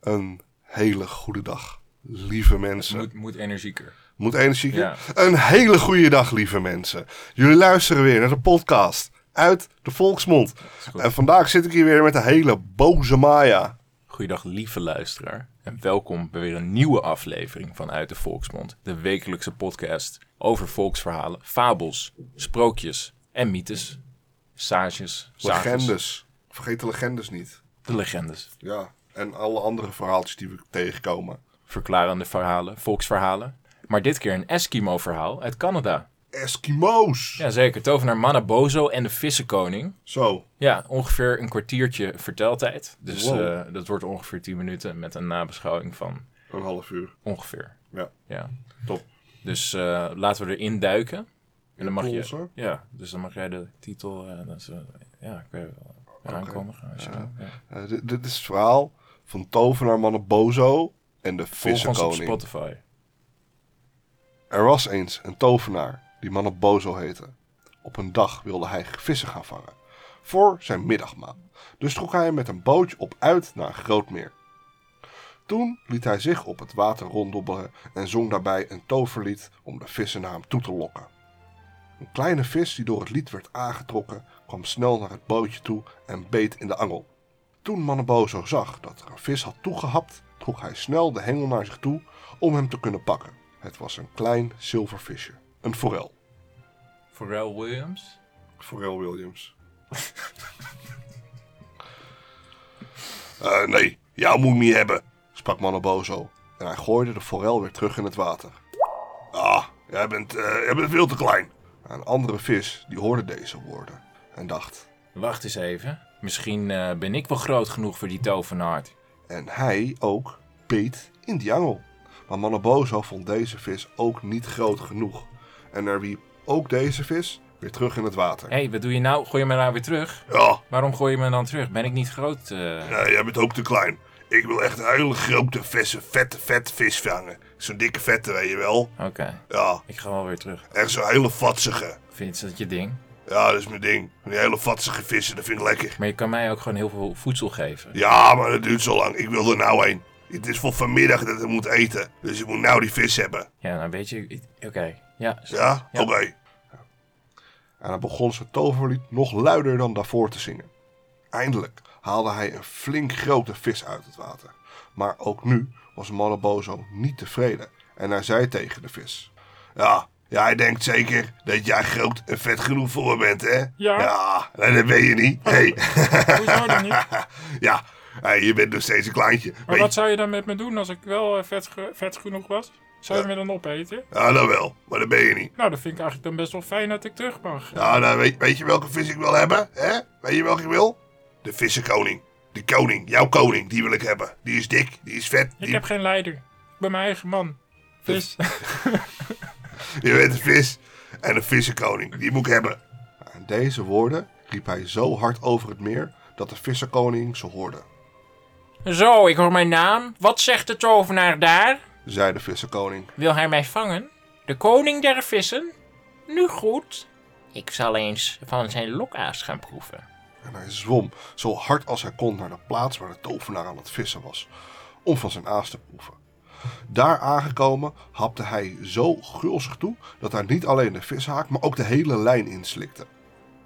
een hele goede dag, lieve mensen. Moet, moet energieker. Moet energieker. Ja. Een hele goede dag, lieve mensen. Jullie luisteren weer naar de podcast uit de Volksmond. goed. En vandaag zit ik hier weer met de hele boze Maya. Goeiedag lieve luisteraar en welkom bij weer een nieuwe aflevering van Uit de Volksmond. De wekelijkse podcast over volksverhalen, fabels, sprookjes en mythes. Sages, sages, Legendes. Vergeet de legendes niet. de legendes. Ja. En alle andere verhaaltjes die we tegenkomen. Verklarende verhalen, volksverhalen. Maar dit keer een Eskimo-verhaal uit Canada. Eskimo's. Jazeker, tovenaar Manabozo en de Vissenkoning. Zo. Ja, ongeveer een kwartiertje verteltijd. Dus Wow. eh, dat wordt ongeveer 10 minuten met een nabeschouwing van Een half uur. ongeveer. Ja. Ja. Top. Dus eh, laten we erin duiken. En dan mag Pools, je, hoor. ja, dus dan mag jij de titel. eh, dat is, eh, ja, ik weet het wel. eh, Aankondigen. als je wil, ja. Eh, dit, dit is het verhaal van tovenaar Mannebozo en de Volg ons op vissenkoning. Spotify. Er was eens een tovenaar die Mannebozo heette. Op een dag wilde hij vissen gaan vangen. Voor zijn middagmaal. Dus trok hij er met een bootje op uit naar een groot meer. Toen liet hij zich op het water ronddobbelen en zong daarbij een toverlied om de vissen naar hem toe te lokken. Een kleine vis die door het lied werd aangetrokken, kwam snel naar het bootje toe en beet in de angel. Toen Mannebozo zag dat er een vis had toegehapt, trok hij snel de hengel naar zich toe om hem te kunnen pakken. Het was een klein zilvervisje, een forel. Pharrell Williams. Forel Williams. Eh, nee, jou moet ik niet hebben, sprak Mannebozo. En hij gooide de forel weer terug in het water. Ah, jij bent, eh, jij bent veel te klein. Een andere vis die hoorde deze woorden en dacht. Wacht eens even. Misschien eh, ben ik wel groot genoeg voor die tovenaar. En hij ook beet in die angel. Maar Manabozo vond deze vis ook niet groot genoeg. En er wiep ook deze vis weer terug in het water. Hé, hey, wat doe je nou? Gooi je me nou weer terug? Ja, Waarom gooi je me dan terug? Ben ik niet groot? eh? nee, jij bent ook te klein. Ik wil echt een hele grote vissen, vette, vette vis vangen. Zo'n dikke vette, weet je wel. Oké, Ja, ik ga wel weer terug. echt zo'n hele vatsige. Vind je dat je ding? Ja, dat is mijn ding. Die hele vatsige vissen, dat vind ik lekker. Maar je kan mij ook gewoon heel veel voedsel geven. Ja, maar dat duurt zo lang. Ik wil er nou een. Het is voor vanmiddag dat ik moet eten. Dus ik moet nou die vis hebben. Ja, nou weet je... ik- Oké, ja. is Ja? Ja. Oké. En dan begon zijn toverlied nog luider dan daarvoor te zingen. Eindelijk haalde hij een flink grote vis uit het water. Maar ook nu was Manabozo niet tevreden en hij zei tegen de vis: Ja, jij denkt zeker dat jij groot en vet genoeg voor me bent, hè? Ja. Ja, nee, dat ben je niet. Hey. Hoezo dan niet? ja, hey, je bent nog steeds een kleintje. Maar Weet wat zou je dan met me doen als ik wel eh, vet, ge- vet genoeg was? Zou je me dan opeten? je- Ja, dat wel, maar dat ben je niet. Nou, dat vind ik eigenlijk dan best wel fijn dat ik terug mag. Ja, nou, weet, weet je welke vis ik wil hebben? Hè? Weet je welke ik wil? De vissenkoning. De koning, jouw koning, die wil ik hebben. Die is dik, die is vet. Ik die- heb geen leider. Ik ben mijn eigen man. Dus Je bent een vis en een vissenkoning, die moet ik hebben. En deze woorden riep hij zo hard over het meer dat de vissenkoning ze hoorde. Zo, ik hoor mijn naam. Wat zegt de tovenaar daar? Zei de vissenkoning. Wil hij mij vangen? De koning der vissen? Nu goed. Ik zal eens van zijn lokaas gaan proeven. En hij zwom zo hard als hij kon naar de plaats waar de tovenaar aan het vissen was, om van zijn aas te proeven. Daar aangekomen hapte hij zo gulzig toe dat hij niet alleen de vishaak, maar ook de hele lijn inslikte.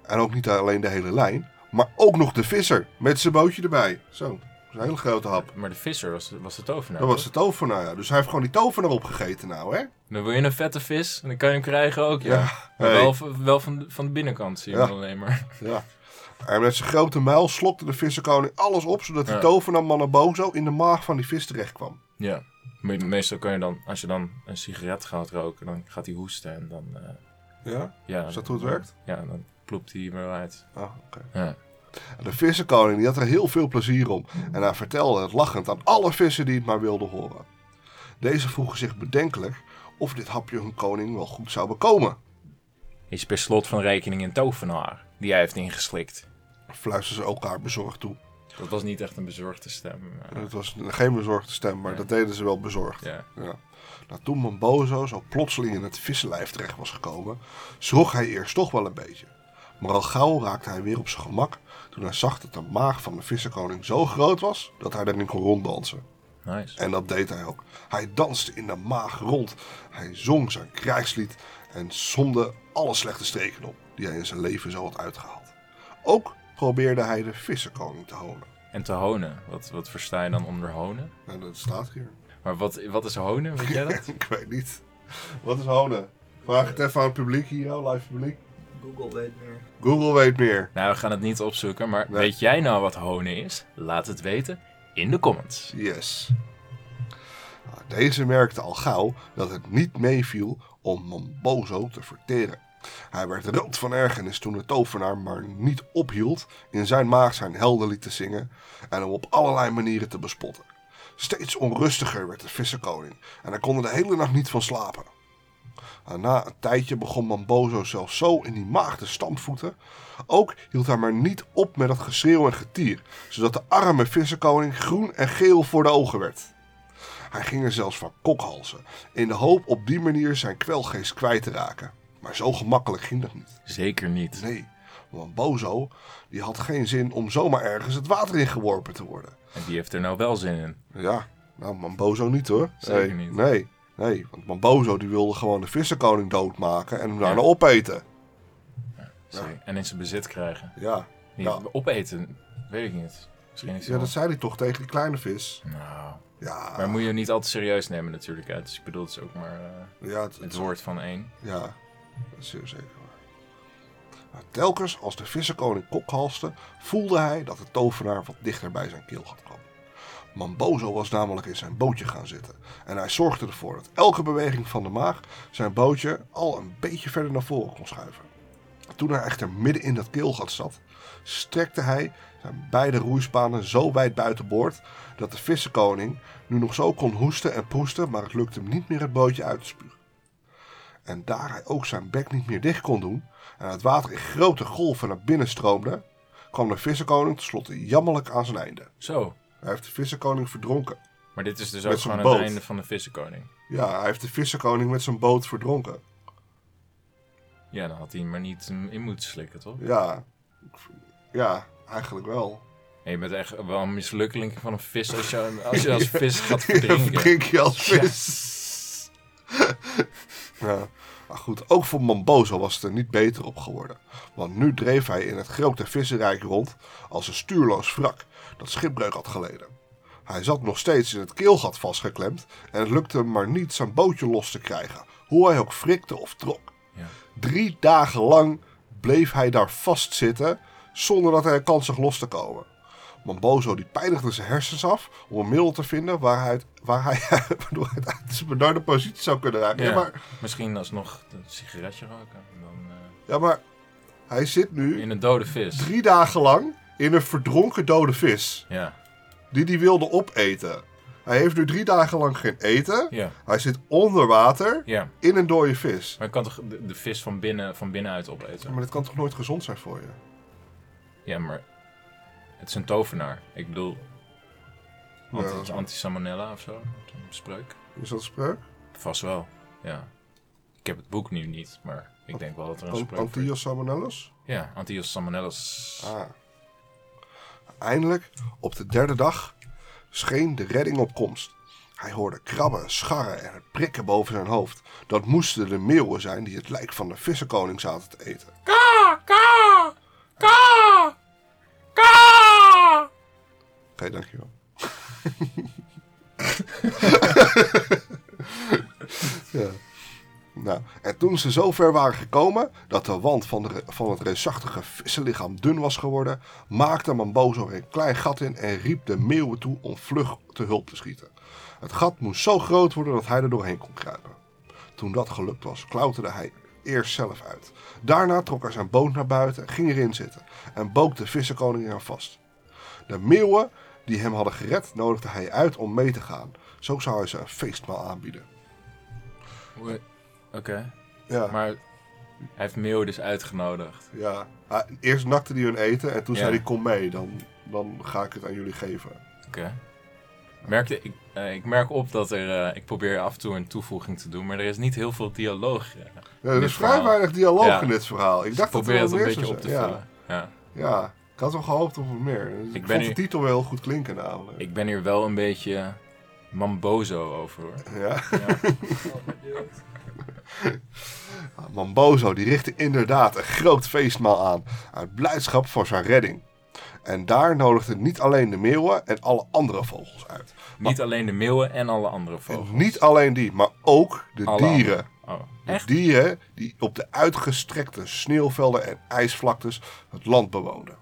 En ook niet alleen de hele lijn, maar ook nog de visser met zijn bootje erbij. Zo, dat is een hele grote hap. Maar de visser was, was de tovenaar. Dat was de tovenaar, ja. Dus hij heeft gewoon die tovenaar opgegeten nou, hè? Dan wil je een vette vis en dan kan je hem krijgen ook, ja. Ja, Maar hey. wel, v- wel van, de- van de binnenkant zie je Ja. hem alleen maar. Ja. En met zijn grote muil slokte de visserkoning alles op, zodat die Ja. tovenaar Manabozo in de maag van die vis terecht kwam. Ja. Me- Meestal kan je dan, als je dan een sigaret gaat roken, dan gaat hij hoesten en dan... eh, Ja? ja, Is dat hoe het werkt? Ja, dan ploept hij hem eruit. Ah, oké. Ja. De vissenkoning die had er heel veel plezier om en hij vertelde het lachend aan alle vissen die het maar wilden horen. Deze vroegen zich bedenkelijk of dit hapje hun koning wel goed zou bekomen. Is per slot van rekening een tovenaar die hij heeft ingeslikt. Fluisterden ze elkaar bezorgd toe. Dat was niet echt een bezorgde stem. maar- Het was geen bezorgde stem, maar dat deden ze wel bezorgd. Ja. Ja. Nou, toen Mambozo zo plotseling in het vissenlijf terecht was gekomen, schrok hij eerst toch wel een beetje. Maar al gauw raakte hij weer op zijn gemak toen hij zag dat de maag van de vissenkoning zo groot was dat hij daarin kon ronddansen. Nice. En dat deed hij ook. Hij danste in de maag rond. Hij zong zijn krijgslied en somde alle slechte streken op die hij in zijn leven zo had uitgehaald. Ook probeerde hij de vissenkoning te honen. En te honen. Wat, wat versta je dan onder honen? Nou, dat staat hier. Maar wat, wat is honen? Weet jij dat? Ik weet niet. Wat is honen? Vraag het even aan het publiek hier, jouw live publiek. Google weet meer. Google weet meer. nou, we gaan het niet opzoeken. Maar Nee. weet jij nou wat honen is? Laat het weten in de comments. Yes. Nou, Deze merkte al gauw dat het niet meeviel om Mambozo te verteren. Hij werd rood van ergernis toen de tovenaar maar niet ophield in zijn maag zijn helden liet te zingen en hem op allerlei manieren te bespotten. Steeds onrustiger werd de vissenkoning en hij kon er de hele nacht niet van slapen. En na een tijdje begon Mambozo zelfs zo in die maag te stampvoeten. Ook hield hij maar niet op met dat geschreeuw en getier, zodat de arme vissenkoning groen en geel voor de ogen werd. Hij ging er zelfs van kokhalzen, in de hoop op die manier zijn kwelgeest kwijt te raken. Maar zo gemakkelijk ging dat niet. Zeker niet. Nee, want Bozo die had geen zin om zomaar ergens het water ingeworpen te worden. En die heeft er nou wel zin in. Ja, nou, Mambozo niet hoor. Zeker nee, niet. Nee, nee, want Mambozo die wilde gewoon de vissenkoning doodmaken en hem daarna opeten. Zeker. En in zijn bezit krijgen. Ja. Die Ja. Opeten, weet ik niet. Misschien is hij ja, wel- dat zei hij toch tegen die kleine vis. Nou, Ja, maar moet je hem niet al te serieus nemen natuurlijk. Hè? Dus ik bedoel, het is ook maar eh, ja, het, het het- woord van één. ja, dat is zeer zeker waar. Maar telkens als de vissenkoning kokhalste, voelde hij dat de tovenaar wat dichter bij zijn keel had kwam. Mambozo was namelijk in zijn bootje gaan zitten en hij zorgde ervoor dat elke beweging van de maag zijn bootje al een beetje verder naar voren kon schuiven. Toen hij echter midden in dat keelgat zat, strekte hij zijn beide roeispanen zo wijd buiten boord dat de vissenkoning nu nog zo kon hoesten en proesten, maar het lukte hem niet meer het bootje uit te spugen. En daar hij ook zijn bek niet meer dicht kon doen en het water in grote golven naar binnen stroomde, kwam de vissenkoning tenslotte jammerlijk aan zijn einde. Zo. Hij heeft de vissenkoning verdronken. Maar dit is dus Met ook zijn gewoon boot. het einde van de vissenkoning. Ja, hij heeft de vissenkoning met zijn boot verdronken. Ja, dan had hij maar niet mm, in moeten slikken, toch? Ja, ja eigenlijk wel. En je bent echt wel een mislukkeling van een vis als je als, je als vis gaat verdrinken. Drink je als vis. ja. Maar goed, ook voor Mambozo was het er niet beter op geworden. Want nu dreef hij in het grote vissenrijk rond als een stuurloos wrak dat schipbreuk had geleden. Hij zat nog steeds in het keelgat vastgeklemd en het lukte hem maar niet zijn bootje los te krijgen, hoe hij ook frikte of trok. Ja. Drie dagen lang bleef hij daar vastzitten zonder dat hij een kans zag los te komen. Mambozo die pijnigde zijn hersens af om een middel te vinden waar hij, het- waar hij waardoor hij uit zijn benarde positie zou kunnen raken. Ja. Ja. maar, Misschien alsnog een sigaretje roken. en Dan, eh, ja, maar hij zit nu in een dode vis. drie dagen lang in een verdronken dode vis Ja. die hij wilde opeten. Hij heeft nu drie dagen lang geen eten. Ja. Hij zit onder water Ja. in een dode vis. Maar je kan toch de, de vis van, binnen, van binnenuit opeten? Maar dat kan toch nooit gezond zijn voor je? Ja, maar het is een tovenaar. Ik bedoel, Ja, dat anti- is- anti-salmonella of zo, een spreuk. Is dat een spreuk? Vast wel, ja. Ik heb het boek nu niet, maar ik denk wel dat er een Ant- spreuk voor is. Antillas salmonellus? Ja, Antios salmonellus. Ah. Eindelijk, op de derde dag, scheen de redding op komst. Hij hoorde krabben, scharren en het prikken boven zijn hoofd. Dat moesten de meeuwen zijn die het lijk van de vissenkoning zaten te eten. Ka! Ka! Ka! Ka! Oké, dankjewel. ja. Nou, en toen ze zo ver waren gekomen dat de wand van, de, re- van het reusachtige vissenlichaam dun was geworden, maakte Mambozo er een klein gat in en riep de meeuwen toe om vlug te hulp te schieten. Het gat moest zo groot worden dat hij er doorheen kon kruipen. Toen dat gelukt was, klauterde hij eerst zelf uit. Daarna trok hij zijn boot naar buiten, ging erin zitten en boog de vissenkoning eraan vast. De meeuwen die hem hadden gered, nodigde hij uit om mee te gaan. Zo zou hij ze een feestmaal aanbieden. Oké, Ja, maar hij heeft Meo dus uitgenodigd. ja. Ah, eerst nakte hij hun eten en toen Ja. zei hij, kom mee, dan, dan ga ik het aan jullie geven. Oké. Merkte, ik, eh, ik merk op dat er, eh, ik probeer af en toe een toevoeging te doen, maar er is niet heel veel dialoog. eh. Ja, er Dit is vrij verhaal. weinig dialoog Ja. in dit verhaal. Ik Dus dacht dat probeer er het wel een meer beetje zou op te zijn. vullen. ja. Ja, ja, ik had wel gehoopt op wat meer. Ik, ben vond nu- de titel wel heel goed klinken namelijk. Ik ben hier wel een beetje Mambozo over. hoor. Ja. Oh, maar dude. Ah, Mambozo die richtte inderdaad een groot feestmaal aan, uit blijdschap voor zijn redding. En daar nodigden niet alleen de meeuwen en alle andere vogels uit. Niet alleen de meeuwen en alle andere vogels. En niet alleen die, maar ook de Oh. Alle dieren. Oh, De echt? dieren die op de uitgestrekte sneeuwvelden en ijsvlaktes het land bewoonden.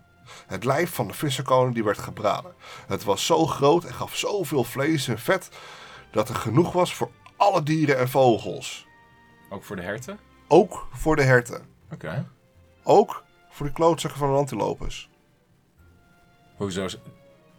Het lijf van de visserkoning die werd gebraden. Het was zo groot en gaf zoveel vlees en vet dat er genoeg was voor alle dieren en vogels. Ook voor de herten? Ook voor de herten. Oké. Ook voor de klootzakken van de antilopes. Hoezo? Oh. z-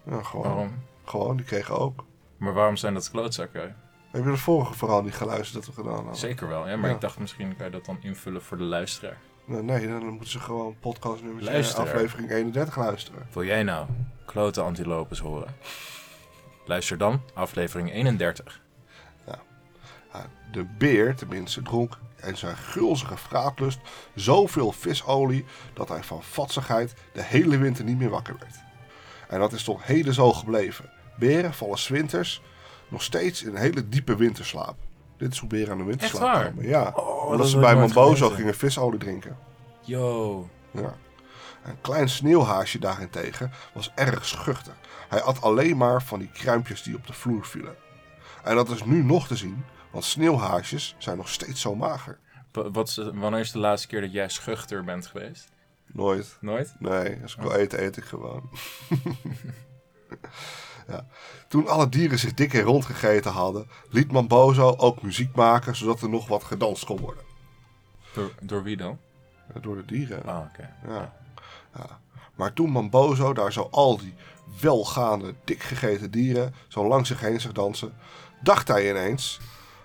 Ja, gewoon. Waarom? Gewoon, die kregen ook. Maar waarom zijn dat klootzakken? Heb je de vorige verhaal niet geluisterd dat we gedaan hadden? Zeker wel, ja, maar Ja. ik dacht misschien kan je dat dan invullen voor de luisteraar. Nee, nee, dan moeten ze gewoon podcast nummer Luisteren. aflevering 31 luisteren. Wil jij nou klote antilopes horen? Luister dan aflevering 31. Ja, De beer, tenminste, dronk in zijn gulzige vraatlust zoveel visolie dat hij van vatsigheid de hele winter niet meer wakker werd. En dat is tot heden zo gebleven. Beren vallen 's winters nog steeds in een hele diepe winterslaap. Dit is hoe beren aan de winterslaap Echt waar? Oh, komen. Ja, dat omdat ze heb bij ik nooit Mambozo geweten. gingen visolie drinken. Yo. Ja. Een klein sneeuwhaasje daarentegen was erg schuchter. Hij at alleen maar van die kruimpjes die op de vloer vielen. En dat is nu nog te zien, want sneeuwhaasjes zijn nog steeds zo mager. Wa- Wat is, wanneer is de laatste keer dat jij schuchter bent geweest? Nooit. Nooit? Nee, als ik wil eten, eet ik gewoon. ja. Toen alle dieren zich dik en rond gegeten hadden, liet Mambozo ook muziek maken zodat er nog wat gedanst kon worden. Door, door wie dan? Ja, Door de dieren. Ah, oké. Ja. ja. Maar toen Mambozo daar zo al die welgaande, dikgegeten dieren zo langs zich heen zag dansen, dacht hij ineens...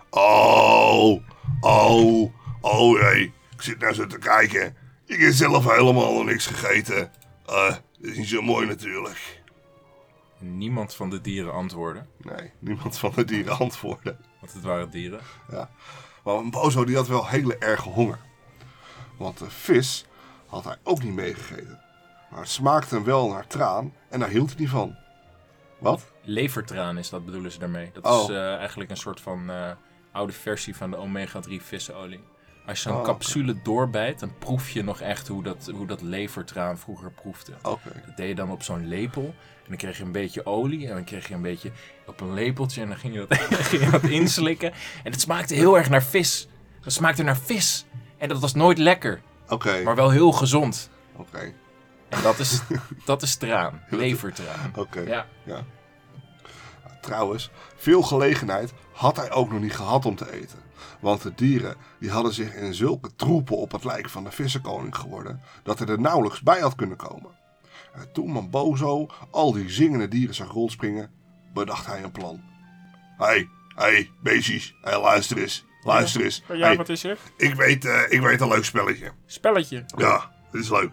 Oh, oh, oh nee, ik zit naar zo te kijken. Ik heb zelf helemaal niks gegeten. Eh, dat is niet zo mooi natuurlijk. Niemand van de dieren antwoordde, Nee, niemand van de dieren antwoordde. want het waren dieren. Maar Bozo die had wel hele erge honger. Want de vis had hij ook niet meegegeten. Maar het smaakte hem wel naar traan en daar hield hij niet van. Wat? Levertraan is dat, bedoelen ze daarmee. Dat Oh. is eh, eigenlijk een soort van eh, oude versie van de omega-3 vissenolie. Als je zo'n Oh, oké. capsule doorbijt, dan proef je nog echt hoe dat, hoe dat levertraan vroeger proefde. Oké. Dat deed je dan op zo'n lepel. En dan kreeg je een beetje olie. En dan kreeg je een beetje op een lepeltje. En dan ging je dat, dan ging je dat inslikken. En het smaakte heel erg naar vis. Dat smaakte naar vis. En dat was nooit lekker. Oké. Maar wel heel gezond. Oké. En dat is, dat is traan. Levertraan. Oké. Ja. Ja. Trouwens, veel gelegenheid had hij ook nog niet gehad om te eten. Want de dieren die hadden zich in zulke troepen op het lijk van de vissenkoning geworden, dat hij er nauwelijks bij had kunnen komen. En toen Mambozo al die zingende dieren zag rondspringen, bedacht hij een plan. Hé, hey, hé, hey, beestjes, hey, luister eens, luister eens. Ja, Hey, wat is er? ik, weet, eh, ik weet een leuk spelletje. Spelletje. Ja, dit is leuk.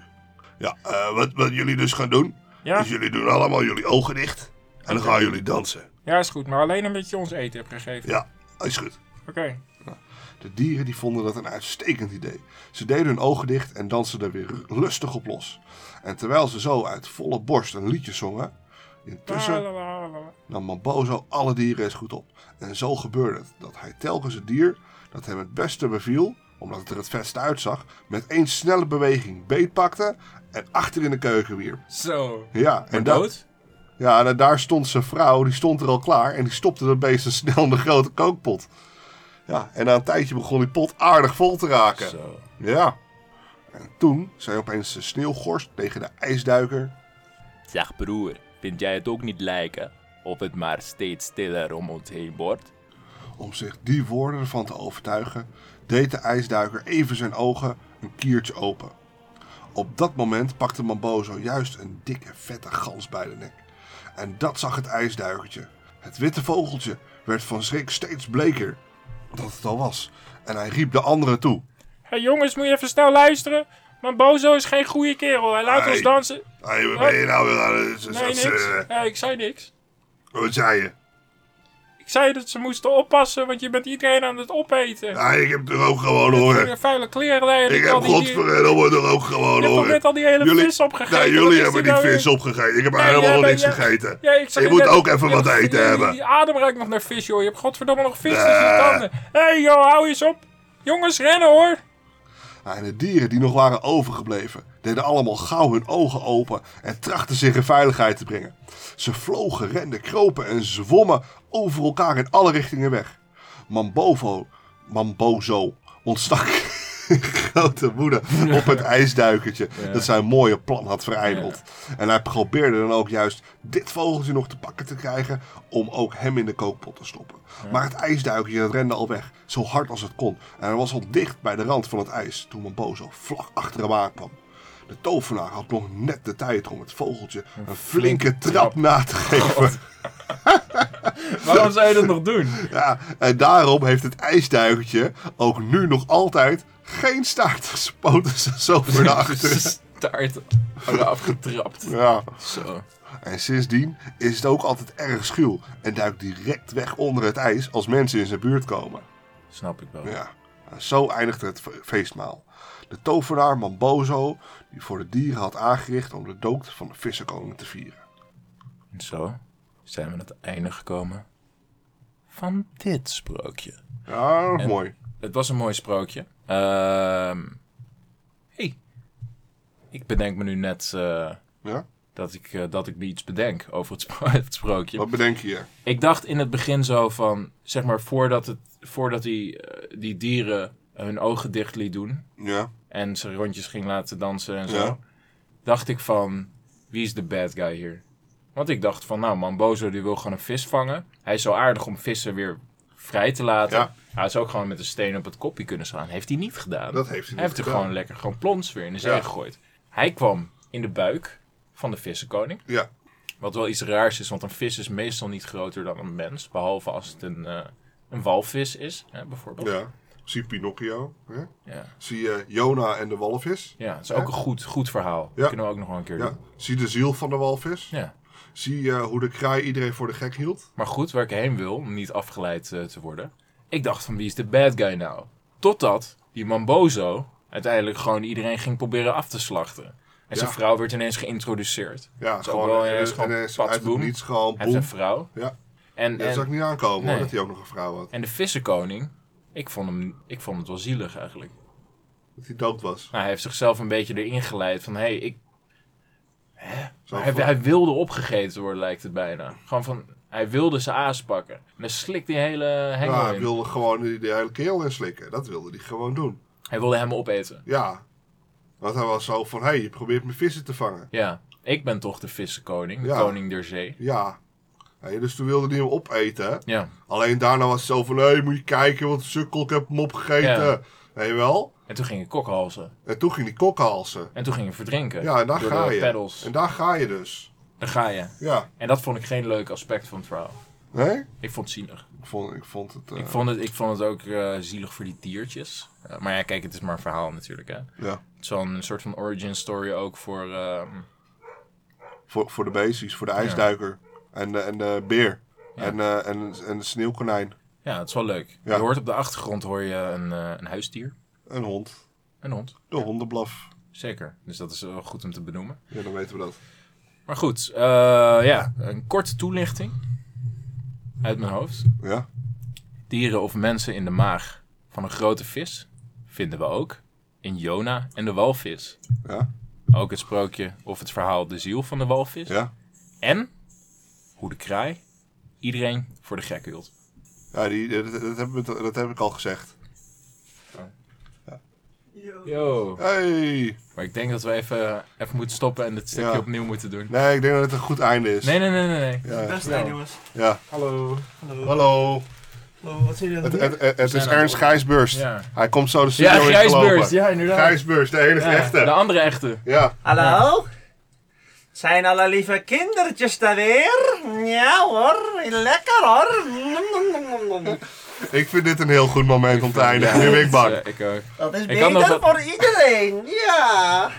Ja, eh, wat, wat jullie dus gaan doen, Ja? dus jullie doen allemaal jullie ogen dicht en dan gaan jullie dansen. ja, is goed. Maar alleen omdat je ons eten hebt gegeven. Ja, is goed. Oké. De dieren die vonden dat een uitstekend idee. Ze deden hun ogen dicht en dansten er weer lustig op los. En terwijl ze zo uit volle borst een liedje zongen, La, intussen la, la, la, la. nam Mambozo alle dieren eens goed op. En zo gebeurde het dat hij telkens het dier dat hem het beste beviel, omdat het er het vetste uitzag, met één snelle beweging beetpakte en achter in de keuken wierp. Zo. Ja, En en dat, dood? ja, en daar stond zijn vrouw, die stond er al klaar en die stopte dat beest zo snel in de grote kookpot. Ja, en na een tijdje begon die pot aardig vol te raken. Zo. Ja. En toen zei opeens de sneeuwgorst tegen de ijsduiker. Zeg broer, vind jij het ook niet lijken? Of het maar steeds stiller om ons heen wordt? Om zich die woorden ervan te overtuigen, deed de ijsduiker even zijn ogen een kiertje open. Op dat moment pakte Mambozo juist een dikke, vette gans bij de nek. En dat zag het ijsduikertje. Het witte vogeltje werd van schrik steeds bleker dat het al was. En hij riep de anderen toe. Hé hey, jongens, moet je even snel luisteren? Maar Bozo is geen goede kerel. Hij laat Hey. ons dansen. Hé, hey, wat ben je nou weer aan het... Nee, niks. Hé, ik zei niks. Wat zei je? Ik Ik zei dat ze moesten oppassen, want je bent iedereen aan het opeten. Ja, ik heb er ook gewoon hoor. Weer Vuile kleren daar. Ik heb godverdomme er ook gewoon Je hebt toch hoor. net al die hele Jullie- vis opgegeten? Nee, Wat jullie is hebben dit die nou vis weer? opgegeten. Ik heb Nee, helemaal jij bent- niks jij- gegeten. Ja, ik zag Je moet net- ook even je wat hebt- eten die- hebben. Die adem ruikt nog naar vis, joh. Je hebt godverdomme nog vis tussen je Nee. tanden. Hé, hey, joh, hou eens op. Jongens, rennen, hoor. Nou, en de dieren die nog waren overgebleven, deden allemaal gauw hun ogen open en trachten zich in veiligheid te brengen. Ze vlogen, renden, kropen en zwommen over elkaar in alle richtingen weg. Mambovo, Mambozo ontstak in grote woede op het ijsduikertje dat zijn mooie plan had vereindeld. En hij probeerde dan ook juist dit vogeltje nog te pakken te krijgen om ook hem in de kookpot te stoppen. Maar het ijsduikertje dat rende al weg, zo hard als het kon. En hij was al dicht bij de rand van het ijs toen Mambozo vlak achter hem aankwam. De tovenaar had nog net de tijd om het vogeltje een flinke trap na te geven. Waarom zou je dat nog doen? Ja, en daarom heeft het ijsduikertje ook nu nog altijd geen staart gespoten ze zo voor de achteren. Staart eraf getrapt. Ja. Zo. En sindsdien is het ook altijd erg schuw en duikt direct weg onder het ijs als mensen in zijn buurt komen. Snap ik wel. Ja, en zo eindigt het fe- feestmaal. De tovenaar Mambozo, die voor de dieren had aangericht om de dood van de vissenkoning te vieren. En Zo zijn we aan het einde gekomen van dit sprookje. Ja, dat is En- mooi. Het was een mooi sprookje. Ehm hey. ik bedenk me nu net eh, Ja? dat, ik, eh, dat ik me iets bedenk over het, spro- het sprookje. Wat bedenk je? Ik dacht in het begin zo van, zeg maar, voordat, het, voordat die, eh, die dieren hun ogen dicht liet doen Ja, en ze rondjes ging laten dansen en zo, Ja. dacht ik van, wie is de bad guy hier? Want ik dacht van, nou, Mambozo die wil gewoon een vis vangen. Hij is zo aardig om vissen weer vrij te laten. Ja. Hij zou ook gewoon met een steen op het kopje kunnen slaan. Heeft hij niet gedaan. dat heeft hij hij heeft niet er gedaan. gewoon lekker gewoon plons weer in de zee Ja. gegooid. Hij kwam in de buik van de vissenkoning. Ja, Wat wel iets raars is, want een vis is meestal niet groter dan een mens. Behalve als het een, eh, een walvis is, hè, bijvoorbeeld. ja. Zie Pinocchio. Hè? Ja. Zie je Jona en de walvis. Ja, het is ook een goed, goed verhaal. Ja. Kunnen we ook nog wel een keer Ja, doen. zie de ziel van de walvis. Ja. Zie eh, hoe de kraai iedereen voor de gek hield. Maar goed, waar ik heen wil, om niet afgeleid eh, te worden. Ik dacht van, wie is de bad guy nou? Totdat die Mambozo uiteindelijk gewoon iedereen ging proberen af te slachten. En zijn Ja. vrouw werd ineens geïntroduceerd. Ja, is ook wel eh, ineens gewoon ineens pats, uit het boem. niets gewoon Hij heeft boem. een vrouw. Ja, En, dat zag ik en, niet aankomen Nee. hoor, dat hij ook nog een vrouw had. en de vissenkoning, ik vond, hem, ik vond het wel zielig eigenlijk. Dat hij dood was. Nou, hij heeft zichzelf een beetje erin geleid van, hé, hey, ik... Zo Hij, van- hij wilde opgegeten worden, lijkt het bijna. Gewoon van, hij wilde zijn aas pakken. En dan slikt die hele hengel ja, hij in. wilde gewoon die, die hele keel inslikken. Dat wilde hij gewoon doen. Hij wilde hem opeten. Ja. Want hij was zo van, hé, hey, je probeert me vissen te vangen. Ja, ik ben toch de vissenkoning, de Ja. koning der zee. Ja. Hé, dus toen wilde hij hem opeten. Ja, Alleen daarna was het zo van, hé, hey, moet je kijken, want sukkel, ik heb hem opgegeten. Ja. Weet je wel? en toen ging ik kokhalzen. En toen ging hij kokhalzen. En toen ging ik verdrinken. Ja, en daar door ga de je. peddels. En daar ga je dus. Daar ga je. Ja. En dat vond ik geen leuk aspect van het verhaal. Nee? Ik vond het zielig. Ik vond, ik vond het... eh, Ik vond het, ik vond het ook eh, zielig voor die diertjes. Eh, maar ja, kijk, het is maar een verhaal natuurlijk, hè. Ja, Zo'n soort van origin story ook voor... ehm, voor, voor de beestjes, voor de ijsduiker. En, de- en de beer. En, eh, en, en de sneeuwkonijn. Ja, het is wel leuk. Ja. Je hoort op de achtergrond hoor je een, eh, een huisdier, Een hond. een hond. De hondenblaf. Zeker. Dus dat is wel goed om te benoemen. Ja, dan weten we dat. Maar goed, eh, ja, een korte toelichting uit mijn hoofd. Ja, Dieren of mensen in de maag van een grote vis vinden we ook in Jona en de walvis. ja, Ook het sprookje of het verhaal de ziel van de walvis. ja. En hoe de kraai iedereen voor de gek hield. Ja, die, dat, dat, heb ik, dat heb ik al gezegd. Yo. Hey! Maar ik denk dat we even, even moeten stoppen en dit stukje Ja. opnieuw moeten doen. Nee, ik denk dat het een goed einde is. Nee, nee, nee, nee. nee. Ja, Best zijn jongens. ja. Hallo. Hallo. Hallo. Hallo, wat zijn jullie aan Het, het het, doen? het, het zijn is aan Ernst het- Gijsburst. Ja. Hij komt zo de studio Ja, in Gijsbeurs. gelopen. Ja, inderdaad. Gijsburst, de enige Ja, Nou. echte. De andere echte. Ja, Hallo? Zijn alle lieve kindertjes daar weer? Ja hoor, lekker hoor. ik vind dit een heel goed moment om te eindigen. Nu ben ik bang. Ja, Eh, ik ook. Dat is Ik had nog beter wat- voor iedereen, ja.